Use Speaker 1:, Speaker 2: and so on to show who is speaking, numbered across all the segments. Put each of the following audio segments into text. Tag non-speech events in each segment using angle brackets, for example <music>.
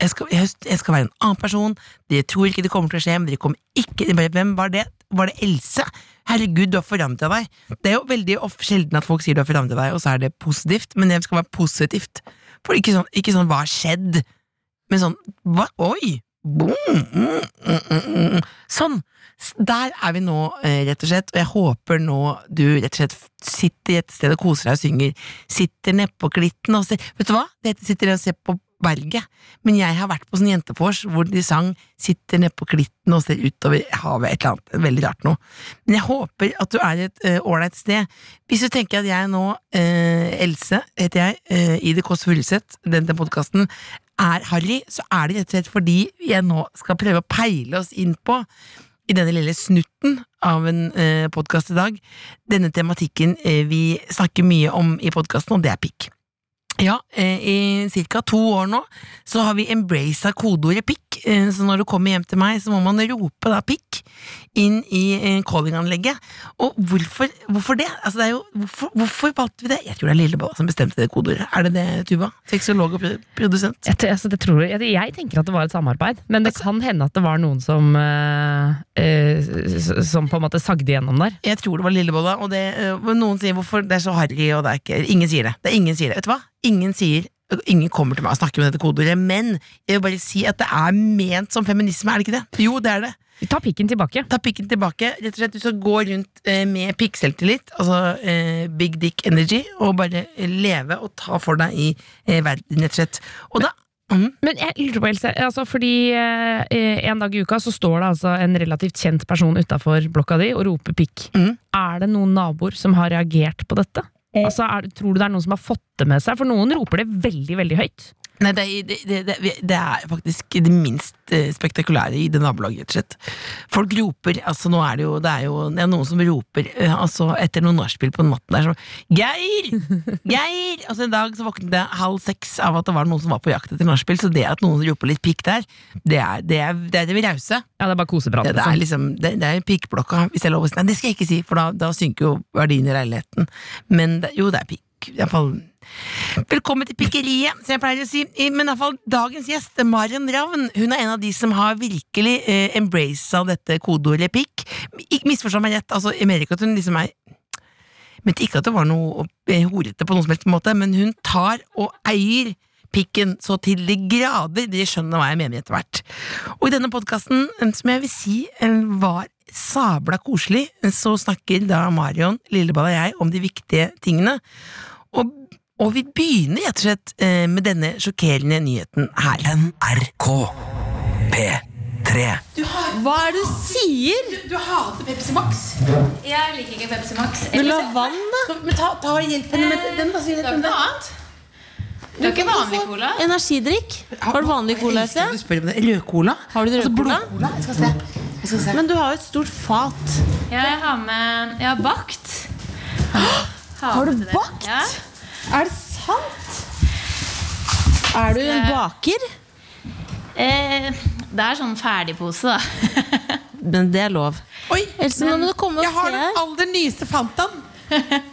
Speaker 1: Jeg skal, i høst, jeg skal være en annen person. Dere tror ikke det kommer til å skje, men dere kommer ikke bare, Hvem var det? Var det Else? Herregud, du har forandra deg. Det er jo veldig of- sjelden at folk sier du har forandra deg, og så er det positivt, men det skal være positivt. For ikke sånn, ikke sånn 'hva har skjedd', men sånn hva, 'oi'. Boom, mm, mm, mm, mm. Sånn. S- Der er vi nå, eh, rett og slett, og jeg håper nå du rett og slett f- sitter et sted og koser deg og synger. Sitter nedpå klitten og ser Vet du hva? Det heter 'sitter og ser på berget', men jeg har vært på sånn jentefors hvor de sang 'sitter nedpå klitten og ser utover havet', et eller annet. Veldig rart noe. Men jeg håper at du er et eh, ålreit sted. Hvis du tenker at jeg nå, eh, Else heter jeg, eh, i Det Kåss Furuseth, denne podkasten, er harry, så er det rett og slett fordi jeg nå skal prøve å peile oss inn på i denne lille snutten av en eh, podkast i dag, denne tematikken eh, vi snakker mye om i podkasten, og det er pikk. Ja, eh, i cirka to år nå så har vi embracet kodeordet pikk, eh, så når du kommer hjem til meg så må man rope da pikk inn i eh, callinganlegget. Og hvorfor, hvorfor det? Altså, det er jo, hvorfor, hvorfor valgte vi det? Jeg tror det er Lillebå som bestemte det kodeordet. Er det det, Tuva? Seksolog og pro- produsent?
Speaker 2: Jeg, tror- altså, det tror, jeg, jeg tenker at det var et samarbeid, men det kan hende at det var noen som eh, eh, s- Som på en måte sagde gjennom der.
Speaker 1: Jeg tror det var Lillebolla, og det, øh, hvor noen sier hvorfor det er så harry, og det er ikke Ingen sier det. det er ingen sier det. Vet du hva? Ingen sier øh, Ingen kommer til meg og snakker om dette kodeordet, men jeg vil bare si at det er ment som feminisme, er det ikke det? Jo, det er det.
Speaker 2: Vi tar pikken tilbake.
Speaker 1: Ta pikken tilbake. Rett og slett, Du skal gå rundt eh, med pikkselvtillit, altså eh, big dick energy, og bare leve og ta for deg i eh, verden, rett og slett. Og da
Speaker 2: Men jeg lurer på, Else, altså, fordi eh, en dag i uka så står det altså en relativt kjent person utafor blokka di og roper pikk.
Speaker 1: Mm.
Speaker 2: Er det noen naboer som har reagert på dette? Altså, er, tror du det er noen som har fått det med seg? For noen roper det veldig, veldig høyt.
Speaker 1: Nei, det, er- det, det, det, det er faktisk det minst eh, spektakulære i det nabolaget, rett og slett. Folk roper, altså nå er det jo Det er jo det er noen som roper eh, altså etter noen nachspiel på natten der som Geir! Geir! Altså En dag så våknet jeg halv seks av at det var noen som var på jakt etter nachspiel, så det at noen roper litt pikk der, det er det, er, det, er det vi rause.
Speaker 2: Ja, det er bare koseprat.
Speaker 1: Det, det
Speaker 2: liksom.
Speaker 1: er liksom, det, det er pikkblokka, hvis det er lov å si. Nei, det skal jeg ikke si, for da, da synker jo verdien i leiligheten. Men det, jo, det er pikk. I hvert fall. Velkommen til pikkeriet, som jeg pleier å si. I- Men i hvert fall dagens gjest, Marion Ravn, hun er en av de som har virkelig eh, embracet dette kodeordet pikk. Ikke misforstå meg rett, altså, jeg mener ikke at hun liksom er men ikke at det var noe eh, horete på noen som helst måte, men hun tar og eier pikken så til de grader. Dere skjønner hva jeg mener etter hvert. Og i denne podkasten, som jeg vil si eh, var sabla koselig, så snakker da Marion, Lilleball og jeg om de viktige tingene. Og, og vi begynner rett og slett eh, med denne sjokkerende nyheten her.
Speaker 3: NRK P3.
Speaker 4: Hva er det du sier?
Speaker 1: Du hater Pepsi Max.
Speaker 5: Jeg liker ikke Pepsi Max.
Speaker 4: Vil du ha vann, da?
Speaker 1: Men ta, og hjelp henne med den.
Speaker 5: annet. Du har ikke vanlig cola?
Speaker 4: Energidrikk? Har du vanlig cola? Else?
Speaker 1: Du spør om det. Rødcola? Altså,
Speaker 4: Har du rødcola?
Speaker 1: Blodcola? Jeg skal se. Jeg skal se.
Speaker 4: Men du har jo et stort fat.
Speaker 5: Ja, jeg har med Jeg har bakt.
Speaker 4: <gasps>
Speaker 5: Har,
Speaker 4: du
Speaker 5: med det.
Speaker 4: bakt?
Speaker 5: Ja.
Speaker 4: Er det sant? Er du en baker?
Speaker 5: Eh, det er sånn ferdigpose, da.
Speaker 4: Men det er lov.
Speaker 1: Oi,
Speaker 4: Else, nå må du komme
Speaker 1: jeg
Speaker 4: og
Speaker 1: har
Speaker 4: se
Speaker 1: den
Speaker 4: her.
Speaker 1: aller nyeste Fantaen.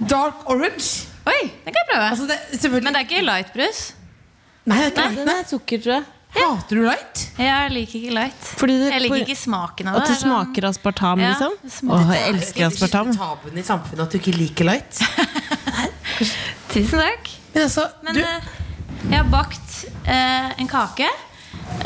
Speaker 1: Dark orange.
Speaker 5: Oi, den kan jeg prøve.
Speaker 1: Altså det, selvfølgelig
Speaker 5: Men det er ikke lightbrus.
Speaker 1: Nei, det er ikke
Speaker 4: Den er sukker, tror jeg.
Speaker 1: Hater du light?
Speaker 5: Jeg liker ikke light.
Speaker 4: Fordi det,
Speaker 5: Jeg liker ikke smaken av det.
Speaker 4: At det
Speaker 5: Det er sånn-
Speaker 4: smaker aspartam,
Speaker 5: Ja,
Speaker 4: liksom?
Speaker 5: det
Speaker 4: Åh,
Speaker 5: smaker-
Speaker 4: jeg elsker aspartam.
Speaker 1: tabuen i samfunnet at du ikke liker light.
Speaker 5: Tusen takk.
Speaker 1: Men altså,
Speaker 5: Men
Speaker 1: du
Speaker 5: eh, jeg har bakt eh, en kake.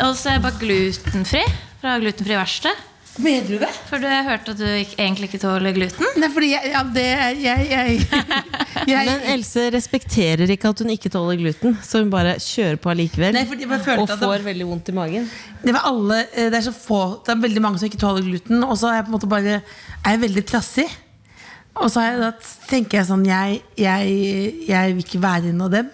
Speaker 5: Og så har jeg bakt glutenfri fra Glutenfri verksted.
Speaker 1: Mener du det?
Speaker 5: For du jeg hørte at du ikke, egentlig ikke tåler gluten.
Speaker 1: Nei, fordi jeg ja, det, er- jeg,
Speaker 4: <laughs>
Speaker 1: jeg, jeg
Speaker 4: Men eh, Else respekterer ikke at hun ikke tåler gluten, så hun bare kjører på allikevel.
Speaker 1: Nei, fordi jeg bare følte
Speaker 4: Og
Speaker 1: at det-
Speaker 4: får veldig vondt i magen.
Speaker 1: det, var alle, eh, det er så få Det er veldig mange som ikke tåler gluten, og så er jeg på en måte bare Er jeg veldig trassig. Og så har jeg, da tenker jeg sånn jeg, jeg, jeg vil ikke være en av dem.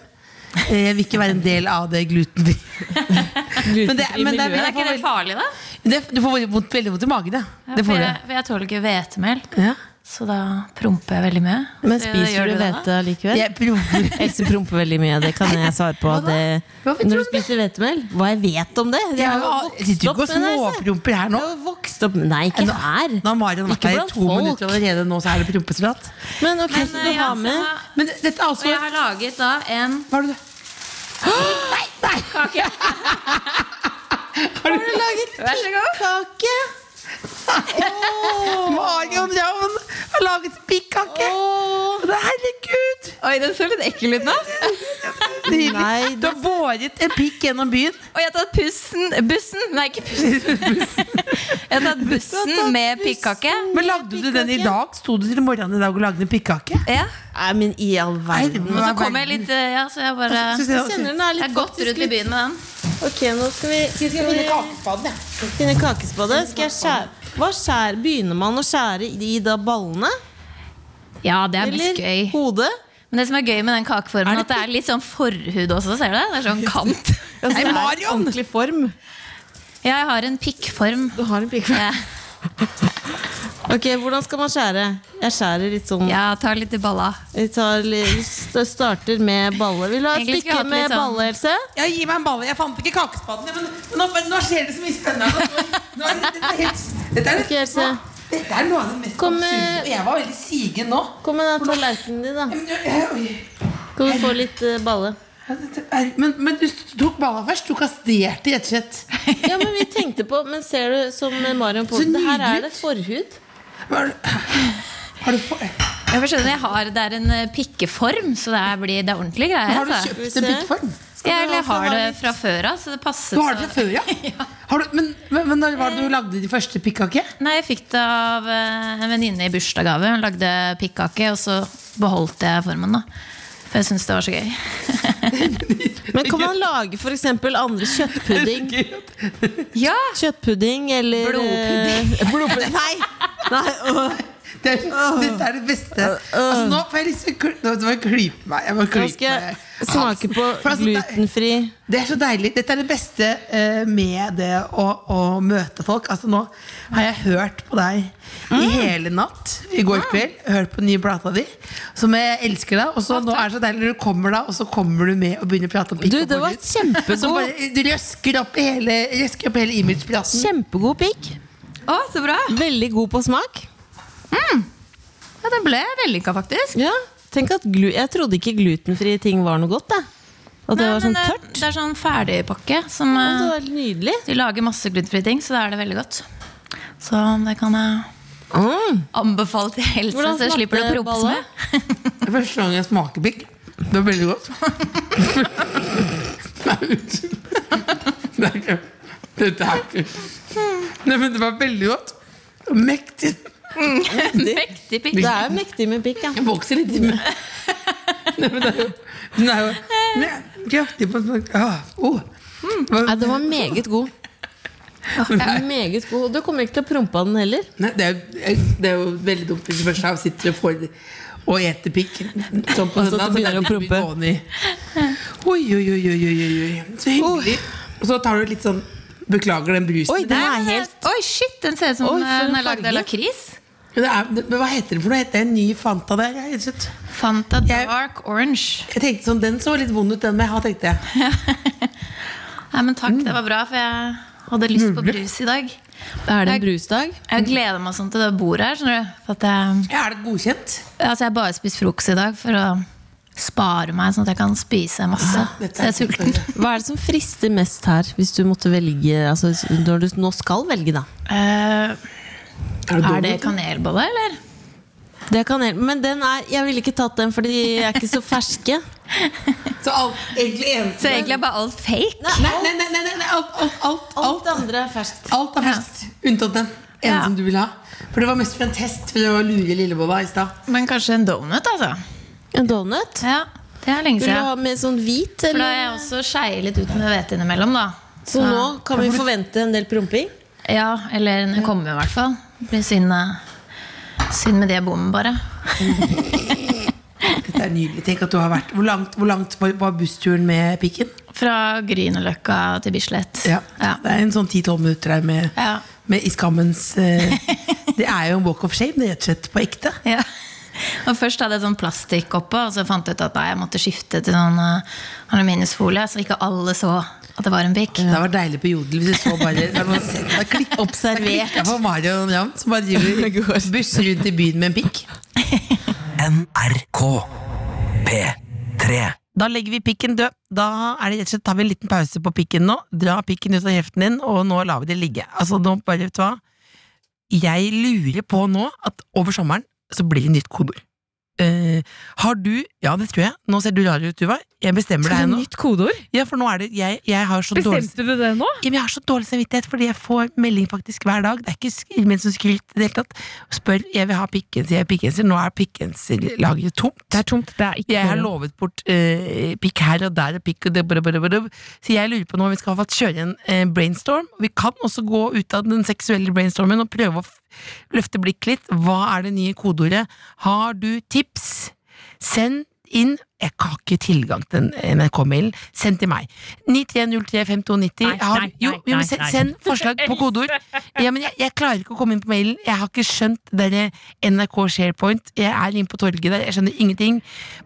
Speaker 1: Eh, Jeg vil ikke være en del av det glutenfrie
Speaker 4: <laughs> Gluten
Speaker 1: Men det- men det er-
Speaker 5: Men er ikke det farlig, da?
Speaker 1: Jo, Det, du får veldig vondt, veldig vondt i magen, ja. Det
Speaker 5: for
Speaker 1: får
Speaker 5: jeg,
Speaker 1: du.
Speaker 5: for jeg tåler ikke hvetemel,
Speaker 1: Ja.
Speaker 5: så da promper jeg veldig mye.
Speaker 4: Men
Speaker 5: Så
Speaker 4: spiser
Speaker 5: gjør
Speaker 4: du
Speaker 5: det da?
Speaker 4: hvete likevel?
Speaker 1: Jeg prøver.
Speaker 4: Else promper veldig mye, det kan jeg svare på. Det, når du spiser hvetemel? Hva jeg vet om det? Jeg har jo
Speaker 1: Jeg sitter jo ikke og
Speaker 4: vokst opp med det. Else.
Speaker 1: småpromper her nå.
Speaker 4: Jeg har vokst opp Nei, ikke
Speaker 1: Nå-
Speaker 4: her.
Speaker 1: Nå har Marion vært
Speaker 4: Ikke
Speaker 1: her i
Speaker 4: blant
Speaker 1: to
Speaker 4: folk.
Speaker 1: minutter allerede, nå så er det prompeprat.
Speaker 4: Men ok,
Speaker 5: Men,
Speaker 4: så du
Speaker 5: eh,
Speaker 4: har
Speaker 5: ja,
Speaker 4: med
Speaker 5: så-
Speaker 1: Men dette er
Speaker 5: Og
Speaker 1: altså
Speaker 5: jeg har laget da en
Speaker 1: Hva har du Nei! nei. Har du laget
Speaker 5: Vær så god.
Speaker 4: kake!
Speaker 1: Marion Ravn har laget pikkake! Herregud!
Speaker 5: Oi, den så litt ekkel ut nå.
Speaker 4: Nei,
Speaker 1: Nydelig. Du har båret en pikk gjennom byen.
Speaker 5: Og jeg har tatt pussen Bussen, nei, ikke pussen. jeg har tatt bussen med pikkake.
Speaker 1: Men lagde du den i dag? Sto du til morgenen i dag og lagde en pikkake?
Speaker 5: Ja.
Speaker 4: Nei, men i all verden.
Speaker 5: Og så kom jeg litt eh, Ja, så jeg bare
Speaker 1: Synes
Speaker 5: Jeg
Speaker 1: jeg-
Speaker 4: Jeg kjenner den er
Speaker 5: har
Speaker 4: litt
Speaker 5: gått
Speaker 4: faktisk
Speaker 5: rundt i
Speaker 4: litt-
Speaker 5: byen med den.
Speaker 4: Ok, nå skal vi Skal vi finne kakespade? Skal jeg skjære Hva skjærer Begynner man å skjære i da ballene?
Speaker 5: Ja, det er mest
Speaker 4: Eller
Speaker 5: gøy.
Speaker 4: hodet?
Speaker 5: Men det som er gøy med den kakeformen,
Speaker 1: Er det
Speaker 5: at det er litt sånn forhud også, ser du? Det Det er sånn kant.
Speaker 4: Altså, det er
Speaker 1: Marion!
Speaker 4: Ordentlig form.
Speaker 5: Ja, jeg har en pikkform.
Speaker 4: Du har en pikkform.
Speaker 5: Eh,
Speaker 4: Ok, hvordan skal man skjære? Jeg skjærer litt sånn
Speaker 5: Ja, ta litt i balla.
Speaker 4: Vi tar litt, st- starter med balle. Vil du ha et
Speaker 5: Egentlig skulle jeg
Speaker 4: stykke
Speaker 5: hatt
Speaker 4: med
Speaker 5: litt sånn-
Speaker 4: balle, Else?
Speaker 1: Ja, gi meg en balle. Jeg fant ikke kakespaden. Men men nå, nå skjer det så mye spennende. Nå, nå er det, dette er helt, dette, er,
Speaker 4: Ok, Else.
Speaker 1: dette er noe av det mest
Speaker 4: Kom, eh,
Speaker 1: absurde. Og jeg var veldig sigen nå.
Speaker 4: Kom med den tallerkenen din, da.
Speaker 1: Men, jeg- oi.
Speaker 4: Skal du få litt eh, balle?
Speaker 1: Dette er- men, men du tok balla først. Du kasterte, rett og slett.
Speaker 4: Ja, men vi tenkte på Men ser du, som Marion på
Speaker 1: Så
Speaker 4: det her
Speaker 1: nydelig.
Speaker 4: er det forhud.
Speaker 1: Har du, har du, få-
Speaker 5: Jeg får skjønne, jeg har, det er en eh, pikkeform, så det, er, blir, det er ordentlige greier.
Speaker 1: har du
Speaker 5: altså.
Speaker 1: kjøpt en
Speaker 4: se.
Speaker 1: pikkform?
Speaker 5: Ja,
Speaker 4: du
Speaker 5: eller jeg har
Speaker 4: ha for
Speaker 5: det
Speaker 4: meg litt-
Speaker 5: fra før av, så det passet
Speaker 1: Du har
Speaker 5: så-
Speaker 1: det fra
Speaker 4: <laughs>
Speaker 1: før, ja? Har du, men, men, men når var det du lagde din første pikkake?
Speaker 5: Nei, jeg fikk det av eh, en venninne i bursdagsgave. Hun lagde pikkake, og så beholdt jeg formen, da. For jeg syntes det var så gøy.
Speaker 4: Men kan man lage f.eks. andre kjøttpudding?
Speaker 5: Ja!
Speaker 4: Kjøttpudding eller
Speaker 5: Blodpudding.
Speaker 4: eh, <laughs> blodpudding. Nei! Nei åh.
Speaker 1: Det er, Dette er det beste. Altså, nå får jeg lyst til å kl- nå må jeg klype meg. Jeg må
Speaker 4: Nå
Speaker 1: klype
Speaker 4: skal jeg
Speaker 1: meg.
Speaker 4: smake på
Speaker 1: For altså, det-
Speaker 4: glutenfri
Speaker 1: Det er så deilig. Dette er det beste eh, med det å, å møte folk. Altså Nå har jeg hørt på deg
Speaker 4: Mm.
Speaker 1: i hele natt i går kveld. Hørt på den nye plata di, som jeg elsker deg. Og så nå er det så deilig når du kommer da, og så kommer du med og begynner å prate om pikk
Speaker 4: Du,
Speaker 1: og
Speaker 4: det var
Speaker 1: forhud.
Speaker 4: kjempegod.
Speaker 1: Som bare du røsker opp hele, røsker opp hele imageplaten.
Speaker 4: Kjempegod pikk.
Speaker 5: Å, så bra!
Speaker 4: Veldig god på smak.
Speaker 5: Ja, Den ble vellykka, faktisk.
Speaker 4: Ja, tenk at glu Jeg trodde ikke glutenfrie ting var noe godt. Da. At det
Speaker 5: Nei,
Speaker 4: var sånn
Speaker 5: men det-
Speaker 4: tørt.
Speaker 5: Det er sånn ferdigpakke som eh,
Speaker 4: Og det var helt nydelig.
Speaker 5: De lager masse glutenfrie ting, så da er det veldig godt. Så det kan jeg
Speaker 4: Mm.
Speaker 5: anbefale til helse,
Speaker 4: Hvordan
Speaker 5: så jeg slipper det å
Speaker 4: smakte
Speaker 5: proppes
Speaker 4: balla?
Speaker 5: med. <laughs>
Speaker 1: Det er første gang jeg smaker pikk. Det var veldig godt. Nei, unnskyld. Det er ikke Dette er ikke Nei, men det var veldig godt. Mektig.
Speaker 5: Mektig pikk.
Speaker 4: Det er jo mektig med pikk. Ja.
Speaker 1: Jeg vokser litt i munnen. Nei, men det er jo Den er jo men kraftig på smak. Ah, oh.
Speaker 4: Nei,
Speaker 1: Hva-
Speaker 4: den var meget god. Meget god. Og du kommer ikke til å prompe av den heller.
Speaker 1: Nei, det, er jo, det er jo veldig dumt hvis du først her sitter og får og eter pikk. Sånn på
Speaker 4: Og så
Speaker 1: denne, den
Speaker 4: begynner å
Speaker 1: blir
Speaker 4: prompe.
Speaker 1: gående i. Oi, oi, oi, oi, oi, oi, oi. Så hyggelig. Og så tar du litt sånn Beklager den brusen.
Speaker 4: Oi,
Speaker 5: Nei,
Speaker 4: den er
Speaker 5: men det-
Speaker 4: helt
Speaker 5: Oi, shit, den ser ut som
Speaker 4: Oi, for
Speaker 5: eh,
Speaker 4: en
Speaker 5: den er lagd av
Speaker 4: farge.
Speaker 5: lakris.
Speaker 1: Men det er, det, men hva heter det for noe? Heter det en ny Fanta der? Jeg, rett og slett.
Speaker 5: Fanta
Speaker 1: Jeg-
Speaker 5: Dark Orange.
Speaker 1: jeg tenkte sånn, Den så litt vond ut, den med. Ha, tenkte jeg.
Speaker 5: Nei, men takk, det var bra, for jeg hadde lyst på brus i dag.
Speaker 4: Da er det en
Speaker 5: Jeg-
Speaker 4: brusdag.
Speaker 5: Jeg gleder meg sånn til det bordet her. skjønner du? For at jeg,
Speaker 1: Ja, Er det godkjent?
Speaker 5: altså, jeg har bare spist frokost i dag for å spare meg, sånn at jeg kan spise masse.
Speaker 1: Ah, Dette
Speaker 5: Så jeg er sulten.
Speaker 4: Hva er det som frister mest her, hvis du måtte velge altså, Når du nå skal velge, da?
Speaker 5: Eh,
Speaker 1: Er det
Speaker 5: er det
Speaker 1: donut?
Speaker 5: kanelbolle, eller?
Speaker 4: Det kan hjelpe. Men den er, jeg ville ikke tatt den, for de er ikke så ferske.
Speaker 1: Så alt, egentlig
Speaker 5: Så
Speaker 1: eneste
Speaker 5: egentlig er bare alt fake?
Speaker 1: Nei, nei, nei, nei, nei, nei, alt, alt, alt,
Speaker 4: <laughs> Alt
Speaker 1: alt,
Speaker 4: det andre er ferskt.
Speaker 1: alt er ferskt. Unntatt den ene
Speaker 5: Ja.
Speaker 1: som du vil ha. For det var mest for en test for å lure lillebolla i stad.
Speaker 5: Men kanskje en donut, altså.
Speaker 4: En donut?
Speaker 5: Ja, Det er lenge
Speaker 4: Vil du
Speaker 5: siden.
Speaker 4: ha med sånn hvit?
Speaker 5: For da
Speaker 4: Eller?
Speaker 5: er jeg også skeier litt ut med hvete innimellom, da.
Speaker 4: Så nå kan vi forvente en del promping?
Speaker 5: Ja, eller den kommer i hvert fall. Det blir synd, eh, synd med det bommet, bare.
Speaker 1: Det er nydelig. Tenk at du har vært Hvor langt, hvor langt var- var bussturen med pikken?
Speaker 5: Fra Grünerløkka til Bislett. Ja.
Speaker 1: Det er en sånn 10-12 minutter der med,
Speaker 5: Ja.
Speaker 1: med i skammens eh, Det er jo en walk of shame, det er rett og slett på ekte.
Speaker 5: <laughs> Ja. Og først hadde jeg sånn plastikk oppå, og så fant jeg ut at nei, jeg måtte skifte til sånn eh, aluminiumsfolie, så ikke alle så at det var en pikk.
Speaker 1: Det var deilig på Jodel hvis du
Speaker 5: <laughs>
Speaker 1: så bare da man ser- da klikk-
Speaker 4: Observert.
Speaker 1: da klikket for Mario Jan, som
Speaker 5: <laughs>
Speaker 1: bare driver busser rundt i byen med en pikk.
Speaker 3: NRK P3
Speaker 1: Da legger vi pikken død. Da er det rett og slett, tar vi en liten pause på pikken nå. Dra pikken ut av kjeften din, og nå lar vi det ligge. Altså, nå bare, vet du hva? Jeg lurer på nå at over sommeren så blir det nytt kodeord. Eh, har du Ja, det tror jeg. Nå ser du rar ut, Tuva. Jeg bestemmer deg
Speaker 2: Skal du
Speaker 1: nå.
Speaker 2: ha nytt kodeord?
Speaker 1: Ja, for nå er det Jeg, jeg har så dårlig
Speaker 2: Bestemte du det nå?
Speaker 1: ja, men jeg har så dårlig samvittighet fordi jeg får melding faktisk hver dag. Det er ikke sk- ment som skryt i det hele tatt. Spør jeg vil ha pikkenser, jeg vil ha pikkenser. Nå er pikkenserlageret tomt.
Speaker 2: Det er tomt. Det er ikke
Speaker 1: Jeg har
Speaker 2: kodeord.
Speaker 1: lovet bort eh, pikk her og der og pikk og det, brr, brr, brr. Så jeg lurer på nå om vi skal få kjøre en eh, brainstorm. Vi kan også gå ut av den seksuelle brainstormen og prøve å f løfte blikket litt. Hva er det nye kodeordet? Har du tips? Send inn Jeg har ikke tilgang til den NRK-mailen. Send til meg. 93035290.
Speaker 2: Nei,
Speaker 1: Har-
Speaker 2: nei,
Speaker 1: Jo,
Speaker 2: nei,
Speaker 1: jo, men
Speaker 2: nei,
Speaker 1: send,
Speaker 2: nei.
Speaker 1: send <laughs> forslag på kodeord. Ja, men jeg, jeg klarer ikke å komme inn på mailen. Jeg har ikke skjønt det der NRK Sharepoint. Jeg er inne på torget der, jeg skjønner ingenting.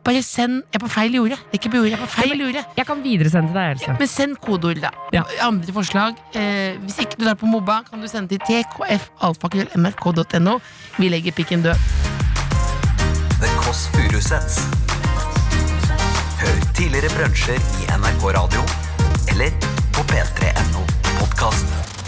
Speaker 1: Bare send Jeg er på feil jorde. Jeg er ikke på jordet, jeg er på feil jorde.
Speaker 2: Jeg kan videresende til deg, Else.
Speaker 1: Men send kodeord, da.
Speaker 2: Ja.
Speaker 1: Andre forslag. Eh, hvis ikke du tar på Mobba, kan du sende til tkfalfakrøllmrk.no. Vi legger pikken død.
Speaker 3: The Koss Furusets Hør tidligere bransjer i NRK Radio Eller på p3.no podcast